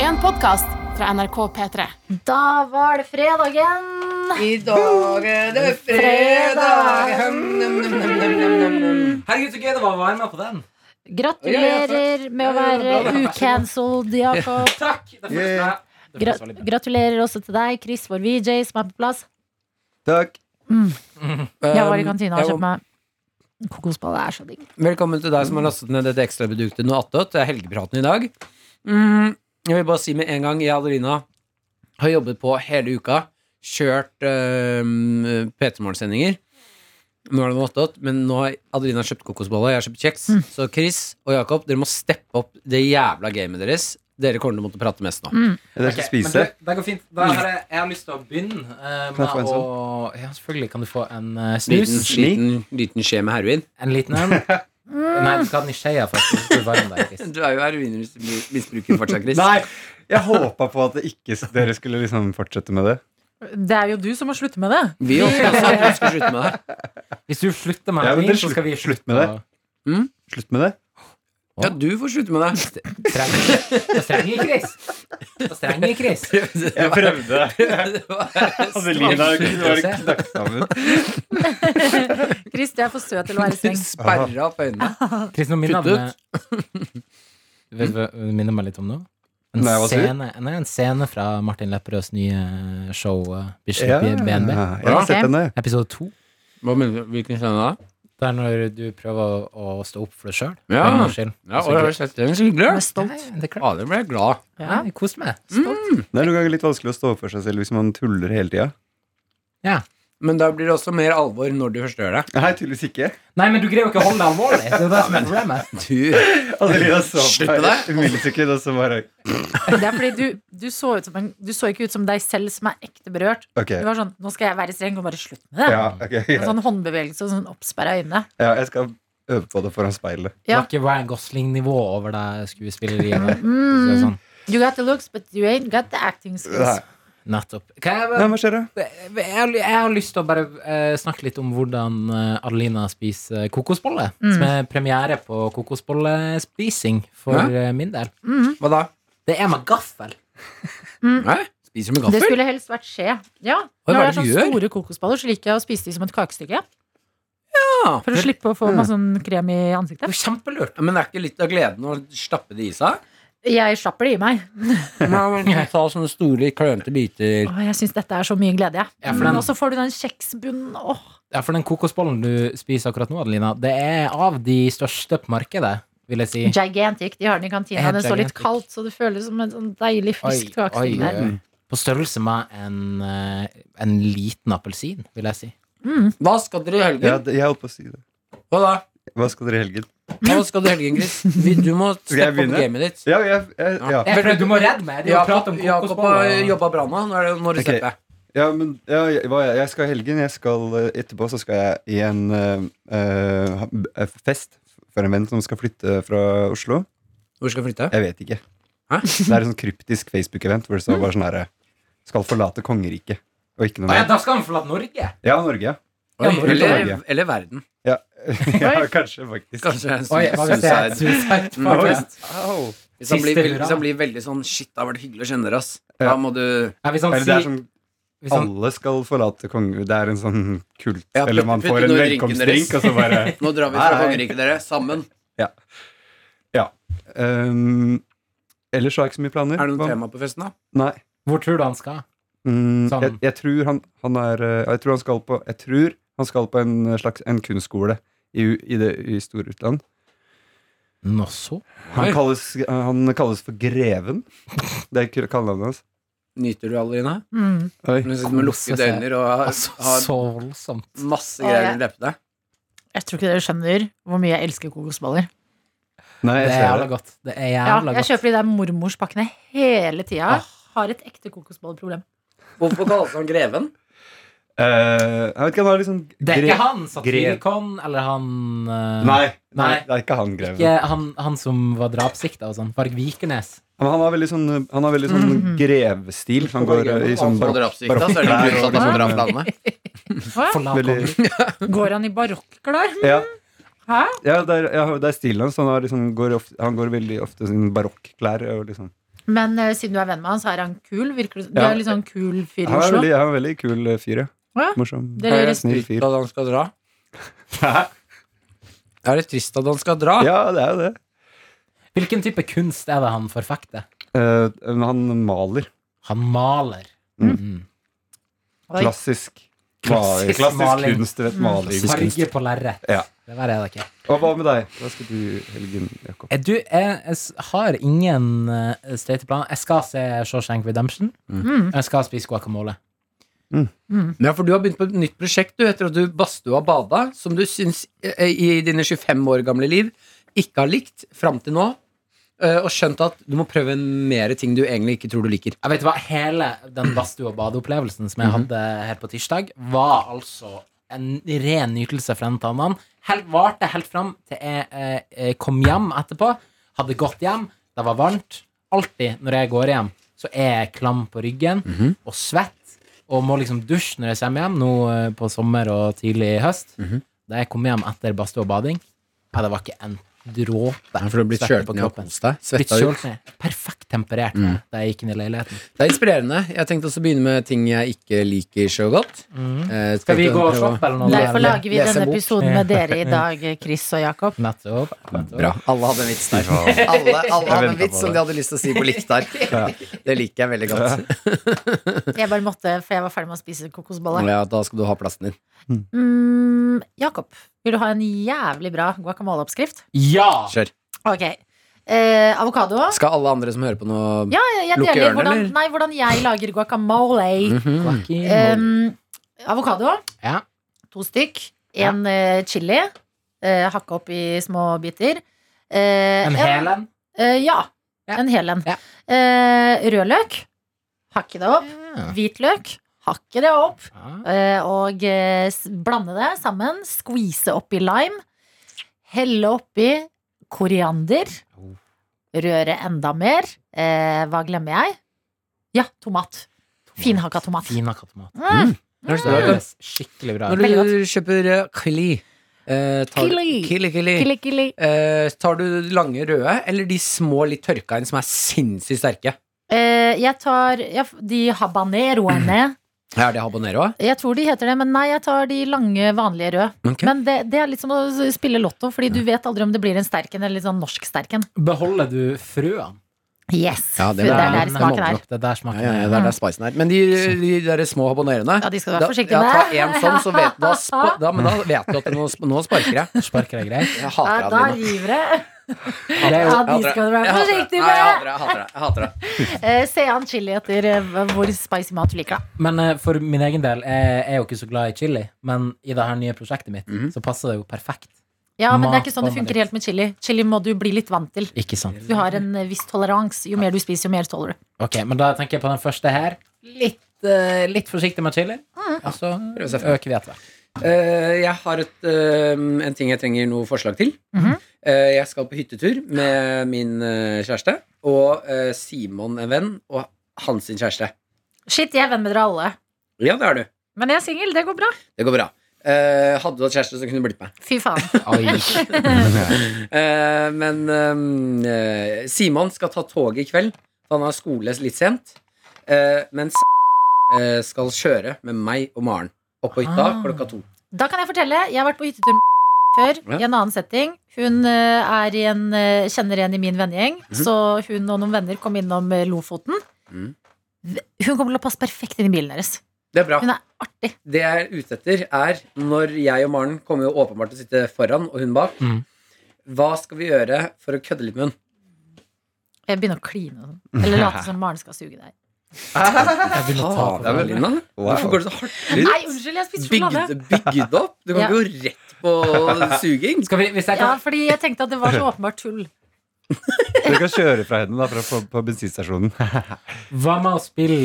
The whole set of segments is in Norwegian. en podkast fra NRK P3. Da var det fredagen. I dag er det fredag. Hum, num, num, num, num, num, num, num. Herregud, så gøy det var å være med på den. Gratulerer med å Ja, ja, være ja. ucancelled, Jakob. Takk! Det føles Yeah. bra. Det Gra føles veldig bra. gratulerer også til deg, Chris, vår VJ, som er på plass. Takk. Jeg var i kantina og Um, Jeg kjøpte meg kokosbolle. Det er så digg. Velkommen til deg som har lastet ned dette ekstra produktet noe attåt. Det er helgepraten i dag. Mm, jeg vil bare si med en gang, jeg og Adelina har jobbet på hele uka. Kjørt øhm, P3 Morgen-sendinger. Nå er det noe attåt, men nå har Adelina kjøpt kokosbolle, jeg har kjøpt kjeks. Mm. Så Chris og Jakob, dere må steppe opp det jævla gamet deres. Dere kommer til å måtte prate mest nå. Mm. Er det Ok, jeg skal men spise? Mm. det, det går fint. Da har jeg, jeg har lyst til å begynne eh, Kan jeg få en sånn? med å Ja, selvfølgelig kan du få en eh, snus. Liten, liten, liten skje med heroin. En liten en. Nei, du skal ha den i skjea først. hvis Du er varm der, Chris. Du er jo heroinmisbruker fortsatt, Chris. Nei! Jeg håpa på at det ikke, dere skulle liksom fortsette med det. Det er jo du som må slutte med det. Vi også, altså, vi skal slutte med det. Hvis du slutter med Ja, men heroin, det så skal vi slutt- slutt med det. å- Slutt med det. Ja, du får slutte med det. Strenge- Da strenger jeg Chris. Da strenger jeg Chris. Jeg prøvde. Adelina Slutt å se. knakk sammen. Chris, du er for søt til å være streng. Sperra opp øynene. Chris, nå minner Kutt jeg meg Du Vet du hva det minner meg litt om nå? En Nei, hva sier du? scene, nei, en scene fra Martin Lepperøds nye show eh, Ja, Bislett i BNB. jeg har sett henne. Episode to. Hva mener du? Hvilken scene da? Det er når du prøver å, å stå opp for deg sjøl. Ja. Ja, og jeg har det sett den, så hyggelig. Jeg er stolt. er klart. Fader, ble jeg glad. Ja, jeg koste meg. Mm. Det er noen ganger litt vanskelig å stå opp for seg selv hvis man tuller hele tida. Men da blir det også mer alvor når du først gjør det. Nei, tydeligvis ikke. Nei, men du greier jo ikke å holde deg alvorlig. Det er jo det som er problemet. Du, Adelina så Slutt med bare det. et millisekund, og så bare Det er fordi du, du, så ut som en, du så ikke ut som deg selv som er ekte berørt. Ok. Du var sånn 'nå skal jeg være streng', og bare slutt med det. Ja, ok. En Ja, sånn håndbevegelse og sånn oppsperra øyne. Ja, jeg skal øve på det foran speilet. Det Ja. var ikke Ryan Gosling-nivå over det skuespilleriet. der. Så det er Mm. Sånn. You got the looks, but you ain't got the acting skills. Nei. Nettopp. Kan jeg, Nei, hva skjer da? jeg, har ly- jeg har lyst til å bare eh, snakke litt om hvordan eh, Adelina spiser eh, kokosbolle. Som er premiere på kokosbollespising for Hæ? eh, min del. hva da? Det er med gaffel. Nei, spiser med Det gaffel. skulle helst vært skje. Ja. Når Oi, hva det er er det sånn du gjør? store kokosballer, så liker jeg å spise de som et kakestykke. Ja. For å slippe å få masse sånn krem i Det ansiktet. er jo kjempelurt. Men er ikke litt av gleden å stappe det i seg? Jeg slapper det i meg. Nei, men jeg Ta sånne store, klønete biter. Å, jeg syns dette er så mye glede, jeg. Ja, for den- Og så får du den kjeksbunnen. Åh. Ja, for den kokosbollen du spiser akkurat nå, Adelina, det er av de største på markedet, vil jeg si. Gigantic. De har den i kantina. Ja, Den står litt Gigantic. kaldt, så det føles som en sånn deilig frisk oi, kakestykke der. oi. På størrelse med en, eh, en liten appelsin, vil jeg si. Hva skal dere i Ja, helgen? det- jeg holdt på å si det. Hva da? Hva skal dere i helgen? Hva skal du i helgen, Chris? Vi- Du må Skal jeg steppe opp begynne? gamet ditt. Ja, jeg, jeg, ja. Jeg tror du må redde meg. Jakob Jakob har jobba bra nå. Nå er det nå er det Ok. steppe. Ja, men ja, jeg, hva jeg, jeg skal i helgen. Jeg skal, eh, etterpå så skal jeg i en eh, eh, ha- b- eh, fest for en venn som skal flytte fra Oslo. Hvor skal jeg flytte? Jeg vet ikke. Hæ? Mm. Det er en sånn kryptisk Facebook-event hvor det står bare sånn herre Skal forlate kongeriket. Og ikke noe mer. Da skal han forlate Norge. Ja, Norge, ja. Oi, Ja, eller, Norge. eller verden. Ja, ja kanskje, faktisk. Kanskje en Oi, hva hvis det er suicide. suicide Mm. party? Oi. Au. Hvis han, Siste blir, hurra. hvis han blir veldig sånn Shit, det har vært hyggelig å kjenne dere, ass. Ja. Da må du Ja, hvis han Eller det er sier- sånn hvis han- alle skal forlate kongeriket. Det er en sånn kult Ja, Eller man putt- putt får i en noen drinkene velkomstdrink, og så bare Nå drar vi Nei, fra nei. kongeriket, dere. Sammen. um, Ellers har jeg ikke så mye planer. Er det noe Hva- tema på festen, da? Nei. Hvor tror du han skal? Mm, Sånn. jeg, jeg tror han, han er eh, Jeg tror han skal på Jeg tror han skal på en eh, slags En kunstskole i, u- i, det- i Storutland. Nå så. Han Oi. kalles, eh, han kalles for Greven. Det er kul- kallenavnet hans. Nyter du Adelina? Mm. Hun sitter med Kose lukkede seg. øyne og har, Altså, har så voldsomt. masse Å, greier ja. under leppene. Jeg tror ikke dere skjønner hvor mye jeg elsker kokosboller. Nei, Det jeg er ser jævla det. godt. Det er Ja, jævla jeg godt. kjøper de der mormorspakkene hele tida. Ah. Har et ekte kokosbolleproblem. Hvorfor kalles han Greven? Eh, jeg vet ikke, han har liksom Det er gre- ikke han Grev. Satirikon, eller han eh, Nei, nei, Nei. det er ikke han Greven. ikke han, han som var drapssikta og sånn. Varg Vikernes. Men han har veldig sånn, eh, han har veldig sånn Mhm. grevestil. Han går eh, i sånn barokk. barokk- Så barokk- er det du som klær drar og- fra landet. Hva? Forlat Veldig- han. Går han i barokklær? Ja, Hæ? ja, det er, ja, det er stilen hans. Han, har liksom, går ofte, han går veldig ofte i sånn barokklær. og Liksom. Men eh, siden du er venn med han, så er han kul? Virker det, Du Ja. er litt sånn kul fyr i Han er Oslo? veldig, han er veldig kul eh, fyr, ja. Ja. Morsom. Det er litt- Snill fyr. At han skal dra? Er det trist at han skal dra? Ja, det er jo det. Hvilken type kunst er det han forfekter? Eh, men han maler. Han maler. Mm. Oi. Mm. Mm. Klassisk. Klassisk Klassisk, klassisk maling. kunst, du vet, maling. Farge på lerret. Ja. Det verre er det ikke. Og hva med deg? Hva skal du helgen, Jakob? Eh, Du, jeg, jeg s- har ingen uh, streite planer. Jeg skal se Shawshank Redemption. Mm. Jeg skal spise guacamole. Ja, for du har begynt på et nytt prosjekt du, etter at du badstua bada, som du syns eh, i dine 25 år gamle liv ikke har likt fram til nå, eh, og skjønt at du må prøve mer ting du egentlig ikke tror du liker. Jeg vet hva, Hele den badstue- og badeopplevelsen som jeg Mhm. hadde her på tirsdag, var altså en ren nytelse fra en til annen. Helt, varte helt fram til jeg eh, eh, kom hjem etterpå. Hadde gått hjem, det var varmt. Alltid når jeg går hjem, så er jeg klam på ryggen Mhm. og svett. Og må liksom dusje når jeg kommer hjem, nå eh, på sommer og tidlig høst. Mhm. Da jeg kom hjem etter badstue og bading, ja, det var ikke en dråpe For du har blitt svette kjølt ned og kost deg. Blitt Svetta ut. Mhm. kjølt ned. Perfekt temperert da jeg gikk inn i leiligheten. Det er inspirerende. Jeg tenkte også å begynne med ting jeg ikke liker så godt. Eh, Mm. Skal vi tenkte gå prøve og å- shoppe eller noe? Derfor lager vi Lese denne bok. episoden med dere i dag, eh, Chris og Jakob. Nettopp. nettopp. Bra. Alle hadde en vits der. Alle, alle hadde en ventet vits på som de hadde lyst til å si på likt der. Det liker jeg veldig Eh, godt. Jeg bare måtte, for jeg var ferdig med å spise kokosbolle. Ja, da skal du ha plassen din. Mm, Jakob, vil du ha en jævlig bra guacamoleoppskrift? Ja! Kjør. Ok. Eh, Avokado. Skal alle andre som hører på nå Ja, jeg Lukke deler ørene, hvordan, eller? nei, hvordan jeg lager guacamole. Mhm. Guacamole. Um, avokado. Ja. To stykk. En eh, chili. eh, hakke opp i små biter. Eh, En hel en? eh, ja. Ja. En hel en. Ja. Eh, rødløk. Hakke det opp. Hvitløk. Hakke det opp. Ja. eh, og eh, s- blande det sammen. Skvise oppi lime. Helle oppi koriander. Røre enda mer. Eh, hva glemmer jeg? Ja, tomat. Finhakka tomat. Fina kattemat. Mm. Det høres skikkelig bra ut. Veldig Når du kjøper eh, kili eh, tar, Kili. kili, kili. Kili, kili. Eh, Tar du de lange røde, eller de små litt tørka inn som er sinnssykt sterke? Eh, jeg tar ja, f- de habaneroene. Er det habanero? Jeg tror de heter det, men nei, jeg tar de lange, vanlige røde. Ok. Men det, det er litt som å s- spille lotto, fordi du vet aldri om det blir en sterken eller litt sånn norsk sterken. Beholder du frøene? Yes! Ja, det det, er er- der smaken er. Det der smaken Ja, ja, det er der spicen er. Men de, de der små habaneroene Ja, de skal du være forsiktig ja, med. ta en sånn, så vet, da, spa, da, men da vet du at det nå, sp- nå sparker jeg. Sparker deg greit? Jeg Ja, hater da Adelina. river det. Det er Ja, jo de skal du være forsiktig Nei, jeg med. hater det. Jeg hater det. Jeg hater det. Eh, se an chili etter eh, hvor spicy mat du liker, da. Men eh, for min egen del, jeg er jo ikke så glad i chili, men i det her nye prosjektet mitt Mhm. så passer det jo perfekt. Ja, men det Mat er ikke sånn det kommer funker litt. helt med chili. Chili må du bli litt vant til. Ikke sant? Du har en eh, viss toleranse. Jo mer du spiser, jo mer tåler du. Ok, men da tenker jeg på den første her. Litt, eh, litt forsiktig med chili, Mm. og så seg frem. øker vi etter hvert. Eh, jeg har et, eh, en ting jeg trenger noe forslag til. Mhm. Eh, jeg skal på hyttetur med min eh, kjæreste og eh, Simon, en venn, og hans sin kjæreste. Shit, jeg er venn med dere alle. Ja, det er du. Men jeg er singel, det går bra. Det går bra. Eh, hadde du hatt kjæreste, så kunne du blitt med. Fy faen. Oi. Eh, men ehm, eh, Simon skal ta toget i kveld. for Han har skole litt sent. Eh, mens eh, skal kjøre med meg og Maren opp på hytta Ah. klokka to. Da kan jeg fortelle. Jeg har vært på hyttetur med før, Ja. i en annen setting. Hun eh, er i en, eh, kjenner en i min vennegjeng, så hun og noen venner kom innom eh, Lofoten. Mhm. Hun kommer til å passe perfekt inn i bilen deres. Det er bra. Hun er artig. Det jeg er ute etter, er når jeg og Maren kommer jo åpenbart til å sitte foran og hun bak. Mm. Hva skal vi gjøre for å kødde litt med hun? Jeg begynner å kline. og sånn. Eller late som Maren skal suge deg. Jeg begynner å ta på Fader, hverandre. Lina. Wow. Hvorfor går det så hardt Nei, ut? unnskyld, jeg spiste sjokolade. Bygd, bygd opp? Du kan Ja. ikke gå rett på suging. Skal vi, hvis jeg Ja, kan fordi jeg tenkte at det var så åpenbart tull. Dere kan kjøre fra henne da, fra, på, på bensinstasjonen. Hva med å spille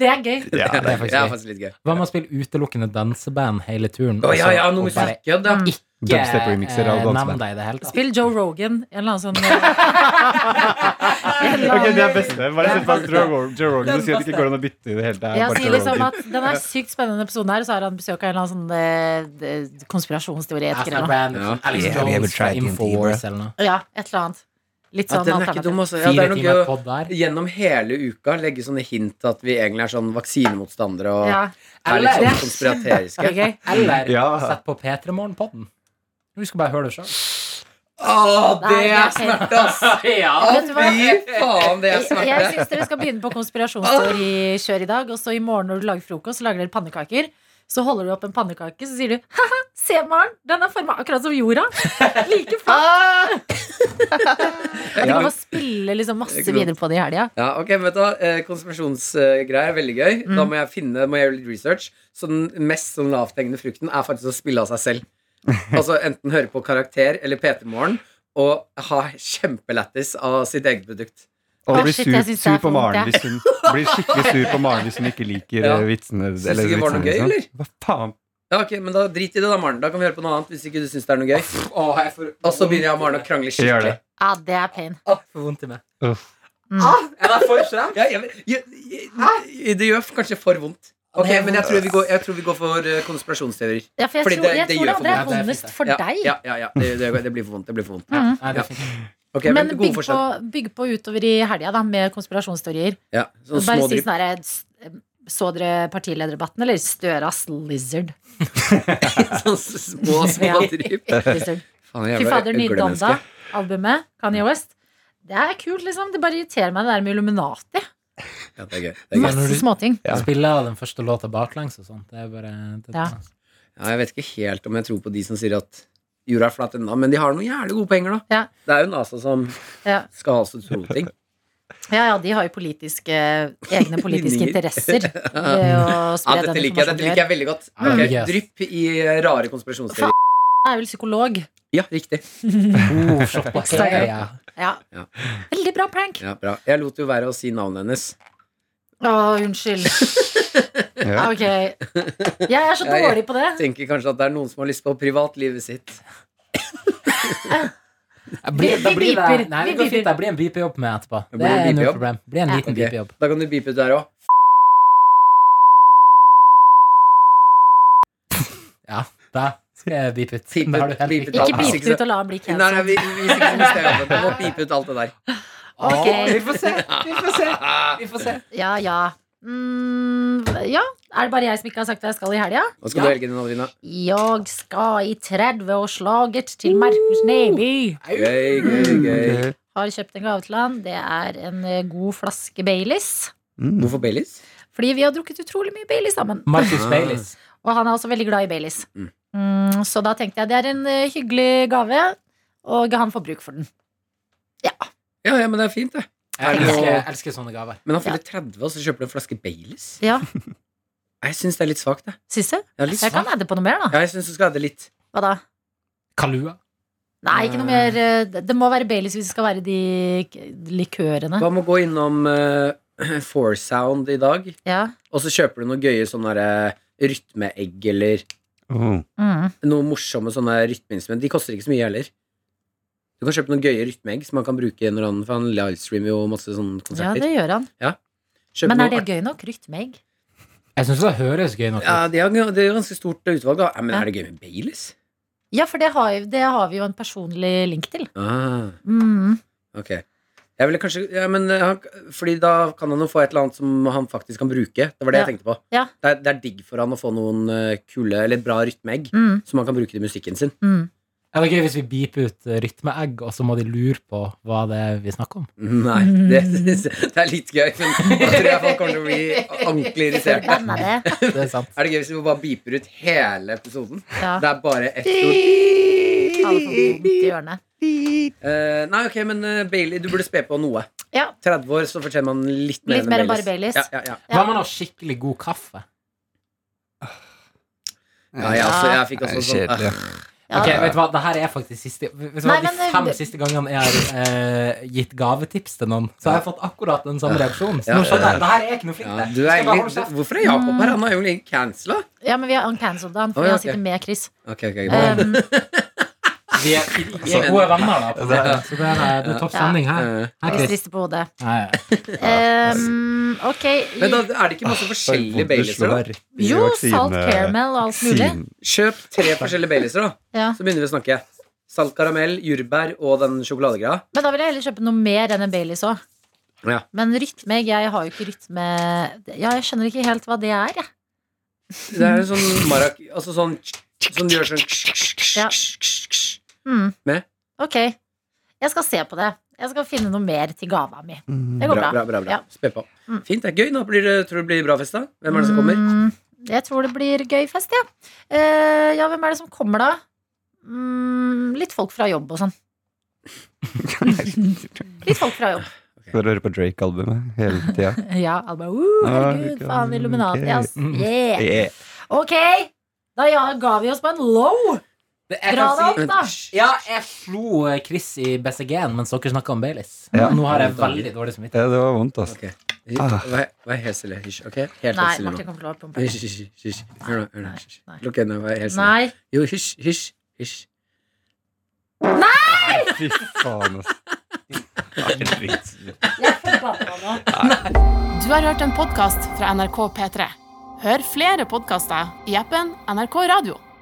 Det er gøy. Ja, det, det er er faktisk gøy. faktisk litt gøy. Hva med å spille utelukkende danseband hele turen? Å, ja, ja, noe Og bare musikkødd, ja. Mm. ikke, Dubstep-remixer av eh, nevn danseband. deg i det hele tatt. Spill Joe Rogan. En eller annen sånn eh, Ok, Det er beste. Bare sett på Joe Rog- Joe Rogan Den og si at det ikke går an å bytte i det hele tatt. Jeg Bare sier Joe liksom Rogan. at Den er sykt spennende episoden her, og så har han besøk av en eller annen sånn eh, konspirasjonsteoretiker. eller noe. Brand, Ja. Alex Yeah, we have a Jones fra track in Infowars eller noe. Ja, et eller annet. Litt Ja, sånn den er ikke dum, alternativ. altså. Ja, det Fire er noe timer gøy å pod der. gjennom hele uka legge sånne hint at vi egentlig er sånn vaksinemotstandere og Ja. er litt Eller- sånn Det konspirateriske. er gøy. Eller Ja. sett på P3morgen-podden. Du skal bare høre det sjøl. Å, det Nei, det er er smerte, ass! Ja. Å, Vet du hva? fy faen, det er Jeg, jeg smerte. syns dere skal begynne på konspirasjonsteorikjør i dag, og så i morgen når du lager frokost, så lager dere pannekaker. Så holder du opp en pannekake, så sier du ha-ha, se Maren, den er forma akkurat som jorda. Like faen. Du kan Ja. bare spille liksom masse Ikke sant. videre på det i helga. Ja, ok, men vet du hva? Eh, Konspirasjonsgreier er veldig gøy. Mm. Da må jeg finne, må jeg gjøre litt research. Så den mest sånn lavthengende frukten er faktisk å spille av seg selv. Altså enten høre på Karakter eller P3 Morgen og ha kjempelættis av sitt eget produkt. Og Å, blir shit, sur, jeg synes det sur er på for vondt, Maren jeg. hvis hun blir skikkelig sur på Maren hvis hun ikke liker Ja. eh, vitsene. Synes du ikke det var noe vitsene, gøy, liksom. Hva faen? Ja, ok, men da Drit i det, da, Maren. Da kan vi høre på noe annet hvis ikke du syns det er noe gøy. Og så begynner jeg og Maren å krangle Jeg gjør skikkelig. det. Ja, det er pain. For vondt i meg. Uff. Er det for slemt? Ja, jeg, jeg, jeg, det gjør kanskje for vondt. Ok, Men jeg tror vi går, jeg tror vi går for eh, konspirasjonsteorier. Ja, for jeg Fordi tror, det- jeg det tror gjør det for andre meg. er Det er fint, vondest det. for ja, deg. Ja, ja, ja. Det, det, det blir for vondt. Det blir for vondt. Mm. Nei, det er fint. Ok, Men men gode bygg på, forslag. bygg på utover i helga, da, med konspirasjonsteorier. Ja, sånne små Bare si drypp. sånn herre s- Så dere partilederdebatten, eller Støras lizard? Sånne små, små Ja. drypp. lizard. Faen, Fy jævla fader, nye øglemenneske. Donda-albumet, Kanye West. Det er kult, liksom. Det bare irriterer meg, det der med Illuminati. Ja, det er gøy. Det er gøy. når Masse du- småting. Ja. Spiller den første låta baklengs og sånt. Det er bare det, Ja. Ja, jeg vet ikke helt om jeg tror på de som sier at jorda er flat ennå, men de har noen jævlig gode penger, da. Ja. Det er jo NASA som Ja. skal ha oss til å tro ting. ja ja, de har jo politiske, egne politiske Linjer. interesser ved å Ja, spre den dette liker jeg, informasjonen. dette de liker gjør. jeg veldig godt. Mm. Ok, Yes. Drypp i eh, rare konspirasjonsteorier. Jeg er vel psykolog. Ja, riktig. Oh, shot på Ikea. Ja. Ja. Veldig bra prank. Ja, bra. Jeg lot jo være å si navnet hennes. Å, unnskyld. Ja. Ok. Jeg er så Ja, ja. dårlig på det. Tenker kanskje at det er noen som har lyst på privatlivet sitt. Jeg blir- Vi- da vi blir det- beeper. Nei, det Vi går fint. beeper. Jeg blir en beep-jobb med etterpå. Det Det blir en er null beep-jobb. problem. Blir en liten Ok, beep-jobb. Da kan du beepe ut der òg. Ja, da skal jeg beepe ut. Beep Da har ut, du helt beep ut. riktig. Ikke Hvis beep ikke så- det ut og la han bli Nei, nei, cancelled. vi, vi skal ikke miste øynene. Du må pipe ut alt det der. Ok. Å, Vi får se. Vi får se. Vi får se. Ja ja. Mm, ja. Er det bare jeg som ikke har sagt hva jeg skal i helga? Hva skal Ja. du i helgen, Adelina? Jeg skal i 30-årslaget til Markus Neby. Gøy, gøy, gøy. Ok. Har kjøpt en gave til han. Det er en eh, god flaske Baileys. Mm. Hvorfor Baileys? Fordi vi har drukket utrolig mye Baileys sammen. Marcus Ah. Baileys. Og han er også veldig glad i Baileys. Mm. Mm, så da tenkte jeg det er en eh, hyggelig gave, og han får bruk for den. Ja, ja, men det er fint, det. Er Jeg det elsker, noe- jeg elsker sånne gaver. Men han fyller 30, og så kjøper du en flaske Baileys? Ja, Jeg syns det er litt svakt, jeg. Syns du? Ja, litt Jeg kan svagt. edde på noe mer, da. Ja, jeg syns du skal ha det litt. Hva da? Kalua. Nei, ikke noe mer. eh, Det det må være Baileys hvis det skal være de k- likørene. Hva med å gå innom eh, Four Sound i dag, Ja. og så kjøper du noen gøye sånne der, eh, rytmeegg eller Oh. Mm. noe morsomme sånne rytmeinstrument. De koster ikke så mye heller. Du kan kjøpe noen gøye rytmeegg som han kan bruke når han For han livestreamer jo masse sånne ja, konserter. det gjør han. Kjøp Men noe er det art- gøy nok? Rytmeegg? Jeg syns det høres gøy nok ut. Ja, det er, det er ganske stort utvalg, da. Ja, men Ja. er det gøy med Baileys? Ja, for det har, jo- det har vi jo en personlig link til. Ah. Mm. Ok. Jeg ville kanskje ja, men, eh, han, Fordi da kan han jo få et eller annet som han faktisk kan bruke. Det var det Ja. jeg tenkte på. Ja. Det, er, det er digg for han å få noen eh, kule eller bra rytmeegg Mm. som han kan bruke til musikken sin. Mm. Er det gøy hvis vi beeper ut eh, rytmeegg, og så må de lure på hva det er vi snakker om? Nei, det, det er litt gøy, men da tror jeg folk kommer til å bli ordentlig irriterte. Forbanna det. Det er sant. Er det gøy hvis vi bare beeper ut hele episoden? Ja. Det er bare ett ord. Alle får vondt i ørene. Eh, nei, ok, men eh, Bailey, du burde spe på noe. Ja. 30 år, så fortjener man litt mer, Litt mer enn bare Baileys. Baileys. Ja, ja, ja. Ja. Hva om man har skikkelig god kaffe? Ja, ja, så jeg fikk Det også er sånn kjedelig. øh, Ja. Ok, vet du hva, det her er faktisk siste Vet du hva, Nei, men, De fem eh, siste gangene jeg har eh, gitt gavetips til noen, så har jeg fått akkurat den samme reaksjonen. Så Ja. nå skjønner jeg, det her er jeg ikke noe flink ja, til. du er Skal bare holde egentlig, kjeft. Hvorfor er Jakob her? Han er jo egentlig cancela. ja, men vi har uncancelled han, for Å, ja, han ok. sitter med Chris. Ok, ok, bra. Um, Vi er, vi er gode venner, da. På det. Så det er, det er topp Ja. stemning her. Eh, her Chris Chris. rister på hodet. Nei, ja. Um, ok. Men da er det ikke masse forskjellige Baileyser, da? Jo, salt caramel og alt mulig. Kjøp tre forskjellige Baileyser, da. Ja. Så begynner vi å snakke. Salt karamell, jordbær og den sjokoladegreia. Men da vil jeg heller kjøpe noe mer enn en Baileys òg. Ja. Men rytme Jeg har jo ikke rytme Ja, jeg skjønner ikke helt hva det er, jeg. Det er sånn marak... Altså sånn Som gjør sånn Ja. Mm. Med? Ok. Jeg skal se på det. Jeg skal finne noe mer til gava mi. Det går bra. Bra, bra, bra. bra. Ja. Spe på. Mm. Fint. det er Gøy. Nå blir det, tror du det blir bra fest, da? Hvem er det som kommer? Mm, jeg tror det blir gøy fest, ja. Eh, ja, hvem er det som kommer da? Mm, litt folk fra jobb og sånn. litt folk fra jobb. For å høre på Drake-albumet hele tida. Ja, alle bare uh, Ah, herregud, ok. faen, Illuminati, ass. Mm. Yeah. Ok, da ja, ga vi oss på en low. Det, jeg Dra kan det si- opp, da. Ja, jeg slo eh, Chris i BCG-en mens dere snakka om Baileys. Ja. Nå har jeg veldig dårlig samvittighet. Ja, det var vondt, altså. Ok. Ah. Vær vær helt stille. Hysj. Ok? Helt Nei, stille Martin nå. kommer til å pumpe. Hysj, hysj, hysj, hysj. Hør nå. hør nå, Nei, hysj. nei. Lukk øynene. Vær helt stille. Nei, Jo, hysj, hysj, hysj. Fy faen, altså. jeg forbanna nå. Du har hørt en podkast fra NRK P3. Hør flere podkaster i appen NRK Radio.